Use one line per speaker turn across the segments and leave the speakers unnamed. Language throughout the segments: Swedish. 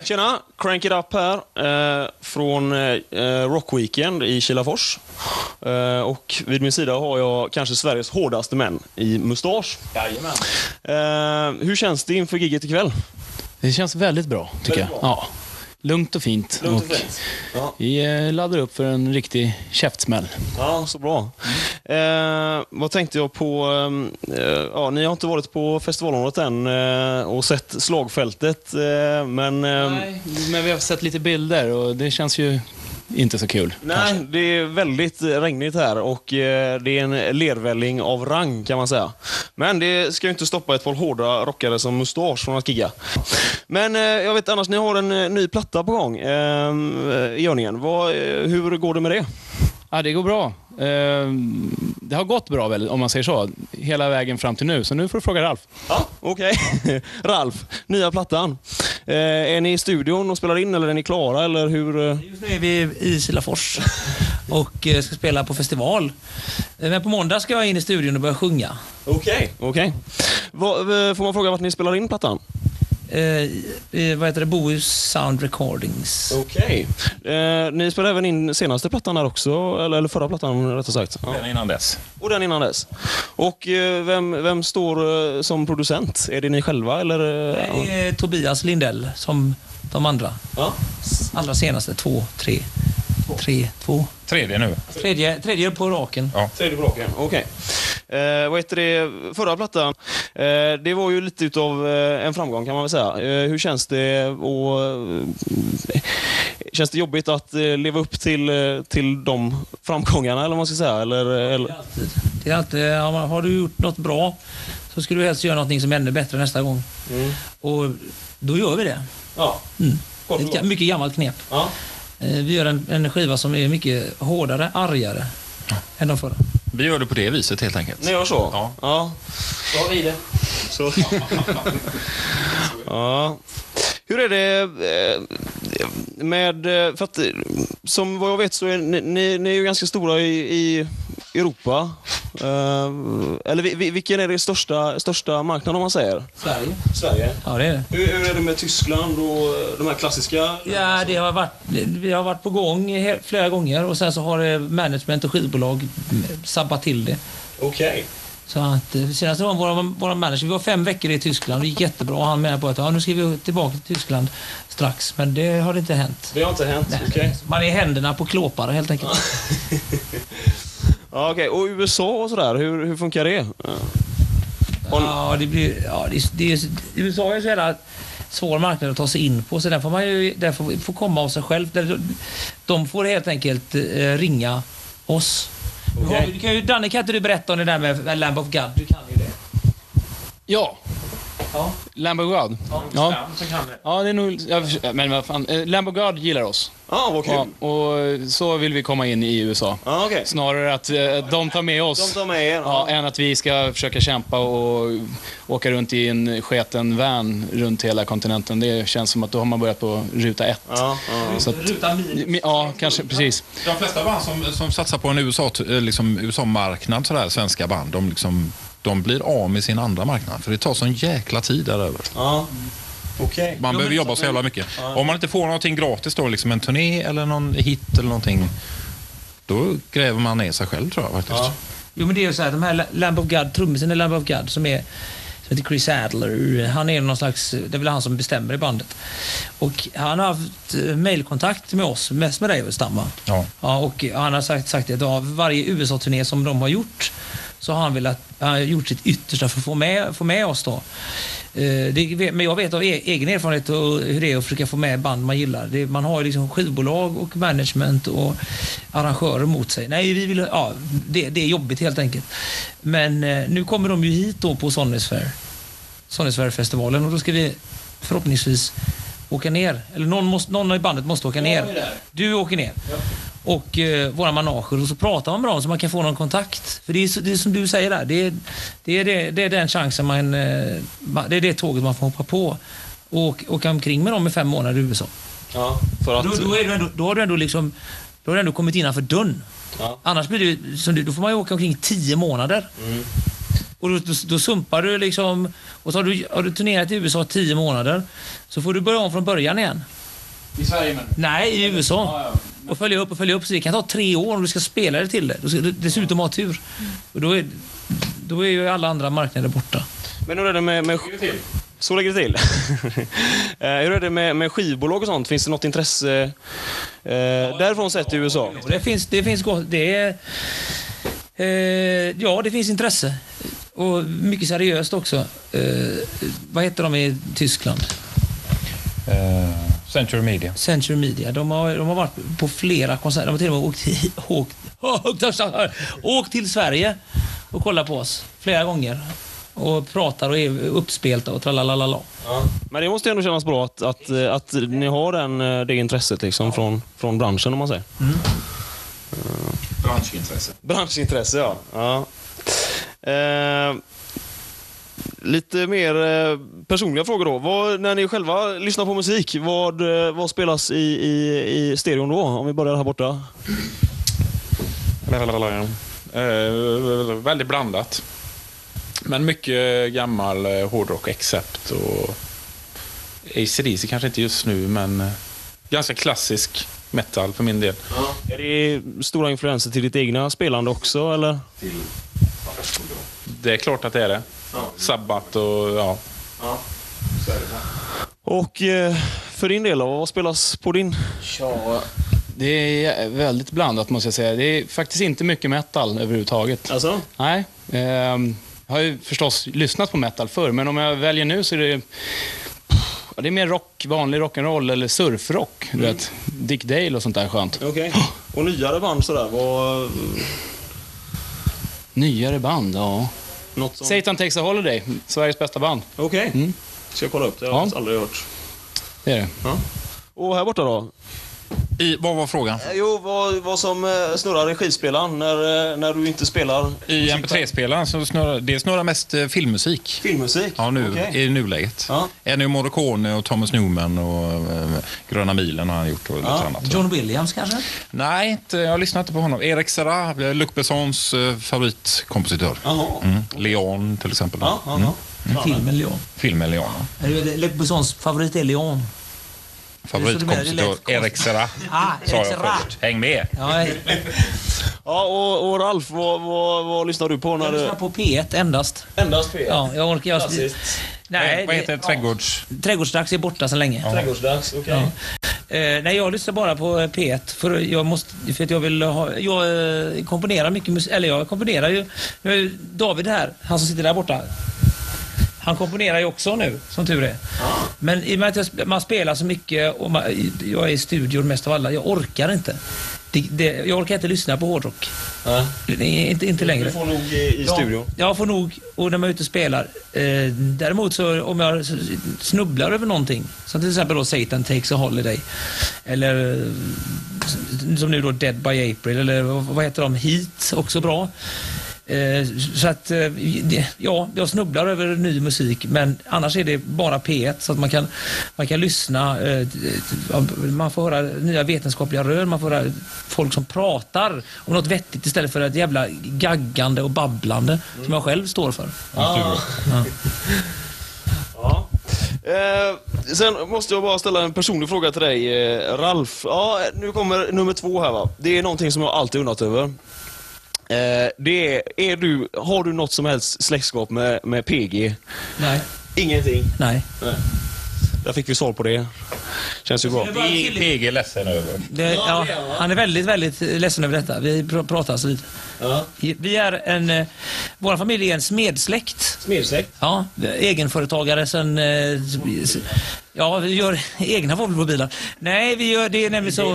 tjena! Crank it up här eh, från eh, Rock Weekend i Kilafors. Eh, och vid min sida har jag kanske Sveriges hårdaste män i mustasch.
Jajamän.
Eh, hur känns det inför giget ikväll?
Det känns väldigt bra, tycker
Väldigt
jag. Ja. Lugnt och fint.
Lugnt och
och
fint. Ja.
Vi eh, laddar upp för en riktig käftsmäll.
Ja, så bra. Eh, vad tänkte jag på? Eh, ja, ni har inte varit på festivalområdet än eh, och sett slagfältet, eh, men... eh,
Nej, men vi har sett lite bilder och det känns ju inte så kul.
Nej, det är väldigt regnigt här och eh, det är en lervälling av rang kan man säga. Men det ska ju inte stoppa ett par hårda rockare som Mustasch från att gigga. Men eh, jag vet annars, ni har en eh, ny platta på gång eh, i görningen. Vad, eh, hur går det med det?
Ja, det går bra. Eh, Det har gått bra, väl, om man säger så, hela vägen fram till nu. Så nu får du fråga Ralf.
Ja, okej. Ralf, nya plattan. Eh, är ni i studion och spelar in eller är ni klara eller hur? eh?
Just nu är vi i Kilafors och eh, ska spela på festival. Eh, Men på måndag ska jag in i studion och börja sjunga.
Okej. Vad, eh, Får man fråga vart ni spelar in plattan?
Eh, i- vad heter det? Bohus Sound Recordings.
Okej. Eh, ni spelade även in senaste plattan här också, eller, eller förra plattan rättare sagt. Ja.
Den innan dess.
Och den innan dess. Och eh, vem, vem står eh, som producent? Är det ni själva eller? eh,
Det är Tobias Lindell som de andra.
Ja.
Allra senaste. Två, tre, tre, två.
Tredje nu.
Tredje, tredje på raken.
Tredje braken. Okej. Eh, vad heter det? Förra plattan, eh, det var ju lite utav eh, en framgång kan man väl säga. Eh, hur känns det och eh, Känns det jobbigt att eh, leva upp till, eh, till de framgångarna eller vad man ska säga? Eller, eh, eller?
Alltid. Det är alltid, ja, men har du gjort något bra så skulle du helst göra någonting som är ännu bättre nästa gång. Och då gör vi det.
Ja.
Mm.
Kort och
Ett ga-
gott.
mycket gammalt knep.
ja.
Eh, Vi gör en, en skiva som är mycket hårdare, argare än de förra.
Vi gör det på det viset helt enkelt.
Ni gör så?
Ja.
ja. Så. ja. Hur är det eh, med... eh, För att, eh, som vad jag vet så är ni, ni, ni är ju ganska stora i, i Europa. Eh, eller vi- vi- vilken är det största, största marknaden om man säger?
Sverige?
Sverige.
Ja, det är det.
Hur, är det med Tyskland och eh, de här klassiska?
Ja, det har varit, vi har varit på gång he- flera gånger och sen så har eh, management och skivbolag eh, sabbat till det.
Okej.
Så att eh, senast var våra, våra manager, vi var fem veckor i Tyskland, det gick jättebra och han menade på att ja, nu ska vi tillbaka till Tyskland strax, men det har inte hänt.
Det har inte hänt? Okej.
Man är i händerna på klåpare helt enkelt.
Ja, okej. Och USA och sådär, hur, hur funkar det? Ja.
Ja, det blir... Ja, det, det, USA är så jävla svår marknad att ta sig in på, så den får man ju den får, får komma av sig själv. Den- De får helt enkelt eh, ringa oss. Nu har vi- Du kan ju, Danne, kan inte du berätta om det där med Lamb of God? Du kan ju det.
Ja,
Ja.
Lamb of God. Ja,
Så kan det.
ja det är nog... Ja, men vad fan. eh, Lamb of God gillar oss.
Ja, vad kul.
Ja, och så vill vi komma in i USA.
Ja, okej.
Snarare att eh, de tar med oss.
De tar med er.
Ja, än att vi ska försöka kämpa och åka runt i en sketen van runt hela kontinenten. Det känns som att då har man börjat på ruta ett.
Ja, ja.
Så att,
Rutan minus.
ja, kanske precis.
De flesta band som, som satsar på en USA-marknad, liksom, USA sådär, svenska band, de, liksom, de blir av med sin andra marknad. För det tar sån jäkla tid där över.
ja. Okej.
Man behöver jobba så jävla mycket. Om man inte får någonting gratis då, liksom en turné eller någon hit eller någonting, då gräver man ner sig själv tror jag faktiskt.
Ja.
Jo, men det är ju så här, de här Lamb of God, trummisen i Lamb of God som är som heter Chris Adler. Han är någon slags, det är väl han som bestämmer i bandet. Och han har haft eh, mailkontakt med oss, mest med dig Överstamma.
Ja.
Ja, och han har sagt, sagt att av varje USA-turné som de har gjort så har han velat, han har gjort sitt yttersta för att få med, få med oss då. Eh, Det, men jag vet av e- egen erfarenhet och hur det är att försöka få med band man gillar. Det, man har ju liksom skivbolag och management och arrangörer mot sig. Nej, vi vill, ja, det, det är jobbigt helt enkelt. Men eh, nu kommer de ju hit då på Sonys Fair. Sonys Fair-festivalen och då ska vi förhoppningsvis åka ner. Eller någon, måste, någon i bandet måste åka ner. Du åker ner. Och eh, våra manager och så pratar man med dem så man kan få någon kontakt. För det är, så, det är som du säger där, det är, det är, det, det är den chansen man, eh, ma- det är det tåget man får hoppa på och åka omkring med dem i fem månader i USA.
Ja, för att...
Då, då, är du ändå, då har du ändå liksom, då har du ändå kommit innanför dörren.
Ja.
Annars blir det ju som du, då får man ju åka omkring tio månader. Och då, då, då sumpar du liksom, och så har du, har du turnerat i USA tio månader, så får du börja om från början igen.
I Sverige men.
Nej, i USA. Och följa upp och följa upp. Så det kan ta tre år om du ska spela det till det. Du ska du dessutom ha tur. Och då, är, då är ju alla andra marknader borta.
Men hur är det med... med så lägger det till. Eh, Hur är det med, med skivbolag och sånt? Finns det något intresse eh, därifrån sett i USA?
Och det finns, det finns gott. Det är, eh, ja, det finns intresse. Och mycket seriöst också. Eh, vad heter de i Tyskland?
Eh, Century Media.
Century Media. De har, de har varit på flera konserter. De har till och med åkt, hit- åkt, åkt, åkt till Sverige och kollat på oss flera gånger. Och pratar och är uppspelta och tralalala.
Men det måste ju ändå kännas bra att, att, eh, att ni har den, eh, det intresset liksom från, från branschen om man säger.
Branschintresse.
Branschintresse ja. ja. Eh, lite mer eh, personliga frågor då. Vad, när ni själva lyssnar på musik, vad, eh, vad spelas i, i, i stereon då? Om vi börjar här borta.
Eh, väldigt blandat. Men mycket gammal eh, hårdrock, Accept och AC/DC kanske inte just nu, men eh, ganska klassisk metal för min del.
Är det stora influenser till ditt egna spelande också eller?
Det är klart att det är det. Sabbat och ja.
Och eh, för din del då, vad spelas på din?
Ja, det är väldigt blandat måste jag säga. Det är faktiskt inte mycket metal överhuvudtaget.
Alltså?
Nej. ehm, jag har ju förstås lyssnat på metal förr, men om jag väljer nu så är det... Ja, det är mer rock, vanlig rock'n'roll eller surfrock. Du vet. Dick Dale och sånt där skönt.
Okej. Och nyare band sådär, vad...
Nyare band, ja.
Något som...
Satan takes a holiday, Sveriges bästa band.
Okej.
Mm.
Ska jag kolla upp det? Jag
Ja.
har faktiskt aldrig hört.
Det är det.
Och här borta då?
I, vad var frågan?
Eh, Jo, vad, vad som eh, snurrar i skivspelaren när, eh, när du inte spelar
I mp3-spelaren så snurrar det snurrar mest eh, filmmusik.
filmmusik?
Ja, nu,
Okej.
i nuläget.
Ja.
Ennio Morricone och Thomas Newman och eh, Gröna milen har han gjort och lite annat.
John Williams kanske?
Nej, inte, jag lyssnar inte på honom. Erik Serra, Luc Bessons eh, favoritkompositör.
Jaha.
Mm. Leon till exempel.
Ja, ja, ja.
Filmen Leon.
Filmen Leon.
Är det Luc Bessons favorit är Leon. Det är så
Favoritkompositör
det blir, det lät
Erik Serra.
Ah,
sa
Erik
jag
Serra.
först. Häng med!
Ja, jag
ja och, och Ralf, vad, vad, vad lyssnar du på när
jag
du...
lyssnar på P1 endast.
Endast P1.
Ja, jag orkar... Jag,
Klassiskt.
Nej,
nej,
Vad heter trädgårds...
det- Trädgårdsdags är borta så länge.
Trädgårdsdags, okej.
Eh, nej, jag lyssnar bara på eh, P1 för jag, måste, för att jag vill ha... Jag eh, komponerar mycket musik, eller jag komponerar ju... Nu är ju David här, han som sitter där borta. Han komponerar ju också nu, som tur är. Men i och med att jag, sp- man spelar så mycket och man, jag är i studion mest av alla, jag orkar inte. Det, det, jag orkar inte lyssna på hårdrock.
Ja.
Det är Inte, inte längre.
Du får nog i, i studion.
Ja, jag får nog, och när man är ute och spelar. Eh, däremot så om jag s- snubblar över någonting, som till exempel då Satan takes a holiday, eller eh, s- som nu då Dead by April, eller vad vad heter de, Heat, också bra. Eh, så att, eh, det- ja, jag snubblar över ny musik, men annars är det bara P1, så att man kan, man kan lyssna, eh, t- t- man får höra nya vetenskapliga rön, man får höra folk som pratar om något vettigt istället för ett jävla gaggande och babblande som jag själv står för.
Ja. Eh, sen måste jag bara ställa en personlig fråga till dig, eh, Ralf. Ja, nu kommer nummer två här va. Det är någonting som jag alltid undrat över. Eh, det är, är du, har du något som helst släktskap med, med PG?
Nej.
Ingenting.
Nej.
Där fick vi svar på det. Känns ju bra.
PG är ledsen över.
Det, ja, han är väldigt, väldigt ledsen över detta. Vi pr- pratas vid. Vi är en... eh, Vår familj är en smedsläkt.
Smedsläkt.
Ja, egenföretagare sen... eh, s- Ja, vi gör egna Volvobilar. Nej, vi gör, det är nämligen så...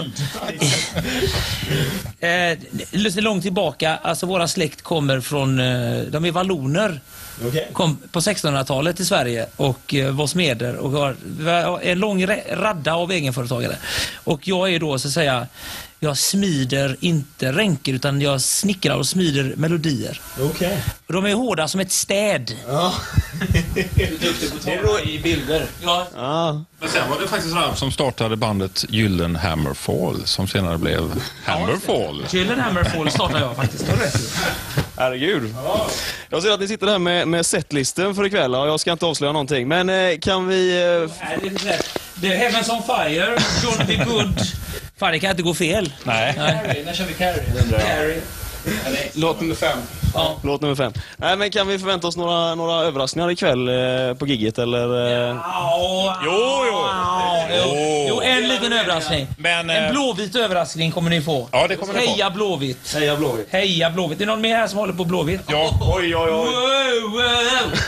Eh, lyssna långt tillbaka, alltså våra släkt kommer från, eh, de är valloner. Kom på 1600-talet till Sverige och eh, var smeder och har vi har en lång ra- radda av egenföretagare. Och jag är då så att säga, jag smider inte ränker utan jag snickrar och smider melodier.
Okej.
Och de är hårda som ett städ.
Ja.
I bilder.
Ja,
ja.
Men sen var det faktiskt Ralf som startade bandet Gyllenhammerfall som senare blev Hammerfall.
Gyllenhammer Fall startar jag faktiskt.
Herregud. Jag ser att ni sitter här med, med setlisten för ikväll. Ja, jag ska inte avslöja någonting. Men eh, kan vi... Eh,
Nej, det är så här. The Heavens on Fire, John B. Good. Fan, det kan inte gå fel.
Nej.
Carrie, när kör vi Carrie? Carrie.
Låt nummer fem.
Låt nummer fem. Nej, men kan vi förvänta oss några, några överraskningar ikväll eh, på gigget eller? Eh...
Jo, jo. Jo, en liten överraskning.
Men, eh,
En blåvit överraskning kommer ni få.
Ja, det kommer ni få.
Heja Blåvitt!
Heja Blåvitt!
Heja Blåvitt! Är det någon mer här som håller på Blåvitt?
Ja,
Oj, oj, oj!
Wow, wow.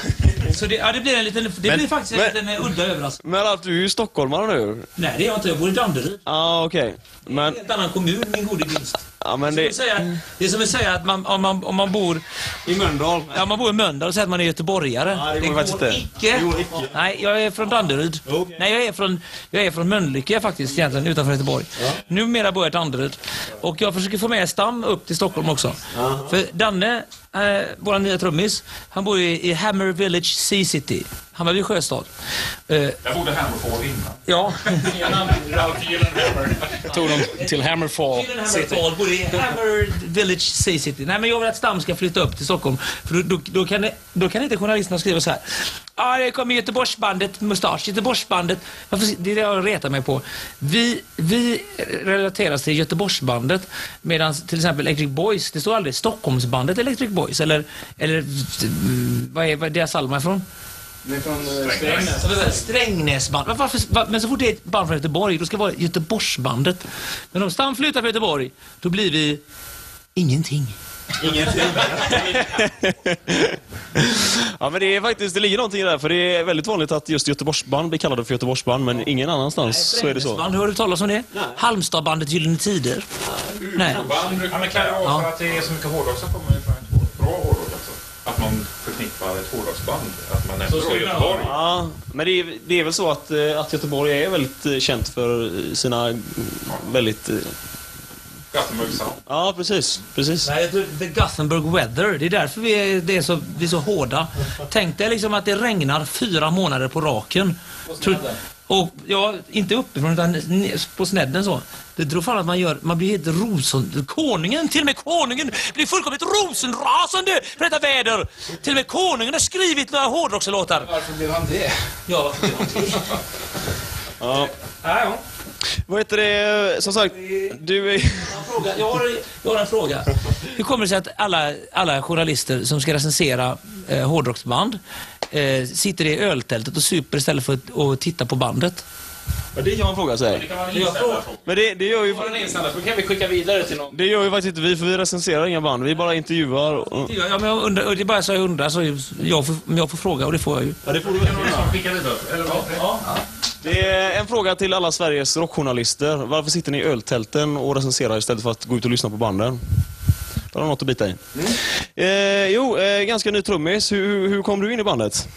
Så det, ja, det blir en liten, det blir faktiskt en
men-
liten eh, udda överraskning.
Men Alf, du är ju stockholmare nu.
Nej, det är jag inte. Jag bor i Danderyd.
Ja, ah, okej. Men,
En helt annan kommun, min gode vinst.
ja, men
Det... är
det...
som att säga- det är som att säga att man, om, man, om man bor
I Mölndal.
Ja, man bor i Mölndal och säger att man är göteborgare.
Ja, det går faktiskt inte.
icke.
Det går icke.
Nej, jag är från Danderyd. Nej, jag är från, jag är från Mölnlycke faktiskt, egentligen, utanför Göteborg. Numera bor jag i Danderyd. Och jag försöker få med Stam upp till Stockholm också. För Danne, eh, vår nya trummis, han bor i, i Hammer Village C-city. Hammarby sjöstad. Eh,
Jag bodde här och får innan.
ja.
Tog dem till Hammerfall.
Killen här med tal bor i Hammer Village Sea City. Nej, men jag vill att Stam ska flytta upp till Stockholm. För då, då, då, kan, det- då kan inte journalisterna skriva så här. Ja, ah, det kommer Göteborgsbandet Mustasch. Göteborgsbandet. Varför, det är det jag retar mig på. Vi, vi relateras till Göteborgsbandet medan till exempel Electric Boys, det står aldrig Stockholmsbandet Electric Boys. Eller, eller mm, vad är, vad är deras album ifrån? Ja, men Strängnäsband. Men Varför, va- men så fort det är ett band från Göteborg, då ska det vara Göteborgsbandet. Men om Stam flyttar från Göteborg, då blir vi ingenting.
Ja, men det är faktiskt, det ligger någonting i det här, för det är väldigt vanligt att just Göteborgsband blir kallade för Göteborgsband, men ingen annanstans så är det så.
Strängnäsband, hör du talas om det? Halmstadbandet Gyllene Tider. Nej.
Ja, men kan det vara för att det är så mycket hårdrock som kommer ifrån ett hård- bra hårdrock alltså? Att man förknippar ett hårdrocksband, att man nämner från Göteborg.
Ja, men det är, det är väl så att, eh, att Göteborg är väldigt eh, känt för eh, sina mm, väldigt... eh,
Gothenburg Sound.
Ja, precis. precis.
Nej, jag tror The Gothenburg Weather. Det är därför vi är, det är, så, vi är så hårda. Tänk dig liksom att det regnar fyra månader på raken. Tror- Och ja, inte uppifrån utan ne- på snedden så. Det tror fan att man gör, man blir helt rosen... Konungen, till och med konungen blir fullkomligt rosenrasande för detta väder! Till och med konungen har skrivit några hårdrockslåtar. Varför blev han det? Ja, varför blev han det? ja. ja.
Vad heter det? Som sagt, du är...
Fråga. Jag, har, jag har en fråga. Hur kommer det sig att alla, alla journalister som ska recensera eh, hårdrocksband eh, sitter i öltältet och super istället för att och titta på bandet?
Ja, det kan man fråga sig. Men det, det gör ju...
Då kan vi skicka vidare till någon.
Det gör ju faktiskt inte vi, för vi recenserar inga band. Vi bara intervjuar. Och...
Ja, men jag undrar, det är bara så jag undrar, så jag får, men jag får fråga och det får jag ju.
Ja, det får du Det är en fråga till alla Sveriges rockjournalister. Varför sitter ni i öltälten och recenserar istället för att gå ut och lyssna på banden? Då har de något att bita i. Eh, jo, eh, ganska ny trummis. Hur, hur- hur kom du in i bandet?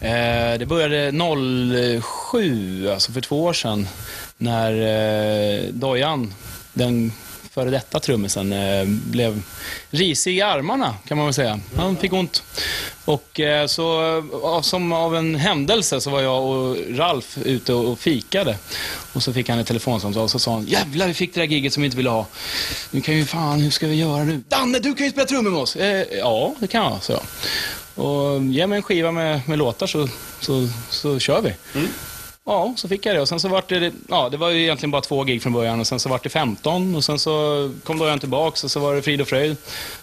Eh, det började 07, alltså för två år sedan, när eh, Dojan, den före detta trummisen, eh, blev risig i armarna kan man väl säga. Han fick ont. Och eh, så, eh, ja, som av en händelse så var jag och Ralf ute och, och fikade. Och så fick han ett telefonsamtal och så sa han, jävlar vi fick det där giget som vi inte ville ha. Nu kan vi fan, hur ska vi göra nu? Danne, du kan ju spela trummor med oss! Eh, ja, det kan jag, sa jag. Och ge mig en skiva med, med låtar så, så, så kör vi. Ja, så fick jag det. Och sen så vart det, ja, det var ju egentligen bara två gig från början och sen så vart det 15 och sen så kom Dojan tillbaks och så var det frid och fröjd.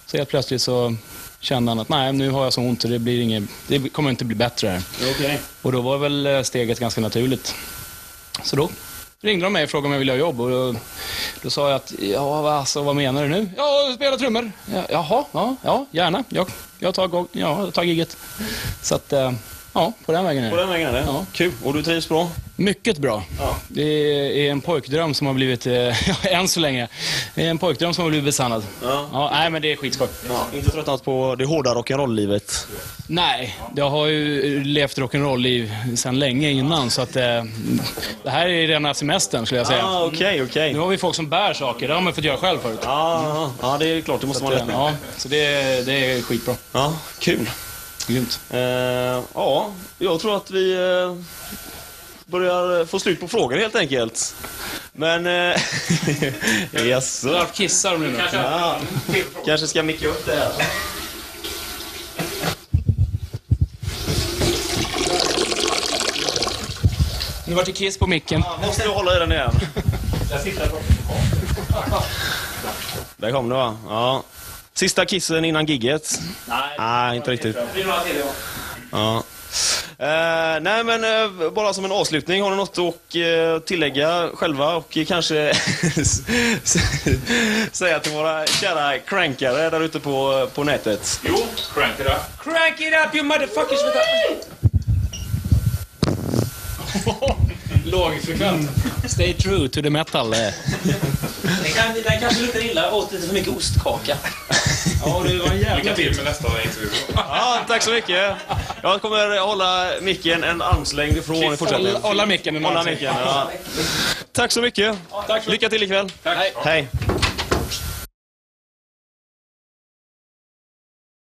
Så helt plötsligt så kände han att nej, nu har jag så ont och det, blir inget, det kommer inte bli bättre här. Och då var väl eh, steget ganska naturligt. Så då ringde de mig och frågade om jag ville ha jobb och då, då sa jag att, ja vad- alltså, vad menar du nu? Ja, spela trummor. Ja, jaha, ja, ja gärna. Jag, jag, tar, gog- ja, jag tar giget. Så att, eh, ja, på den vägen är det.
vägen är det.
Ja.
Kul. Och du trivs bra?
Mycket bra. Det är en pojkdröm som har blivit, eh, än så länge, det är en pojkdröm som har blivit besannad.
Ja.
nej men det är skitskoj.
Inte tröttnat på det hårda rock'n'roll-livet?
Nej, jag har ju levt rock'n'roll-liv sedan länge innan så att eh, det här är rena semestern skulle jag säga.
Ah, okej, okej.
Nu har vi folk som bär saker, det har man fått göra själv förut.
Ah, ja, det är klart. Det måste man räkna med.
Ja, så det, det är skitbra.
Ja, kul.
Grymt.
Eh, ja, jag tror att vi eh, börjar få slut på frågor helt enkelt. Men... Eh, jaså?
Ralf kissar nu då.
Ja, kanske ska micka upp det här.
Nu vart det kiss på micken.
Måste du hålla i den igen? Där kom det va? Ja. Sista kissen innan gigget? Nej, inte riktigt. Ja. Eh, nej men eh, bara som en avslutning, har ni något att eh, tillägga själva och kanske s- s- säga till våra kära crankare där ute på, på nätet?
Jo, crank it up.
Crank it up you motherfuckers!
Lågfrekvent. Stay true to the metal. eh.
Den, kan, den kanske luktar illa, åt lite för mycket ostkaka.
Ja, det var en jävla bild. med nästa intervju.
Ja, tack så mycket. Jag kommer hålla micken en armslängd ifrån i fortsättningen.
Hålla- Hålla micken med
Hålla
mansen.
micken. Ja. Tack så mycket. Lycka till ikväll. Hej.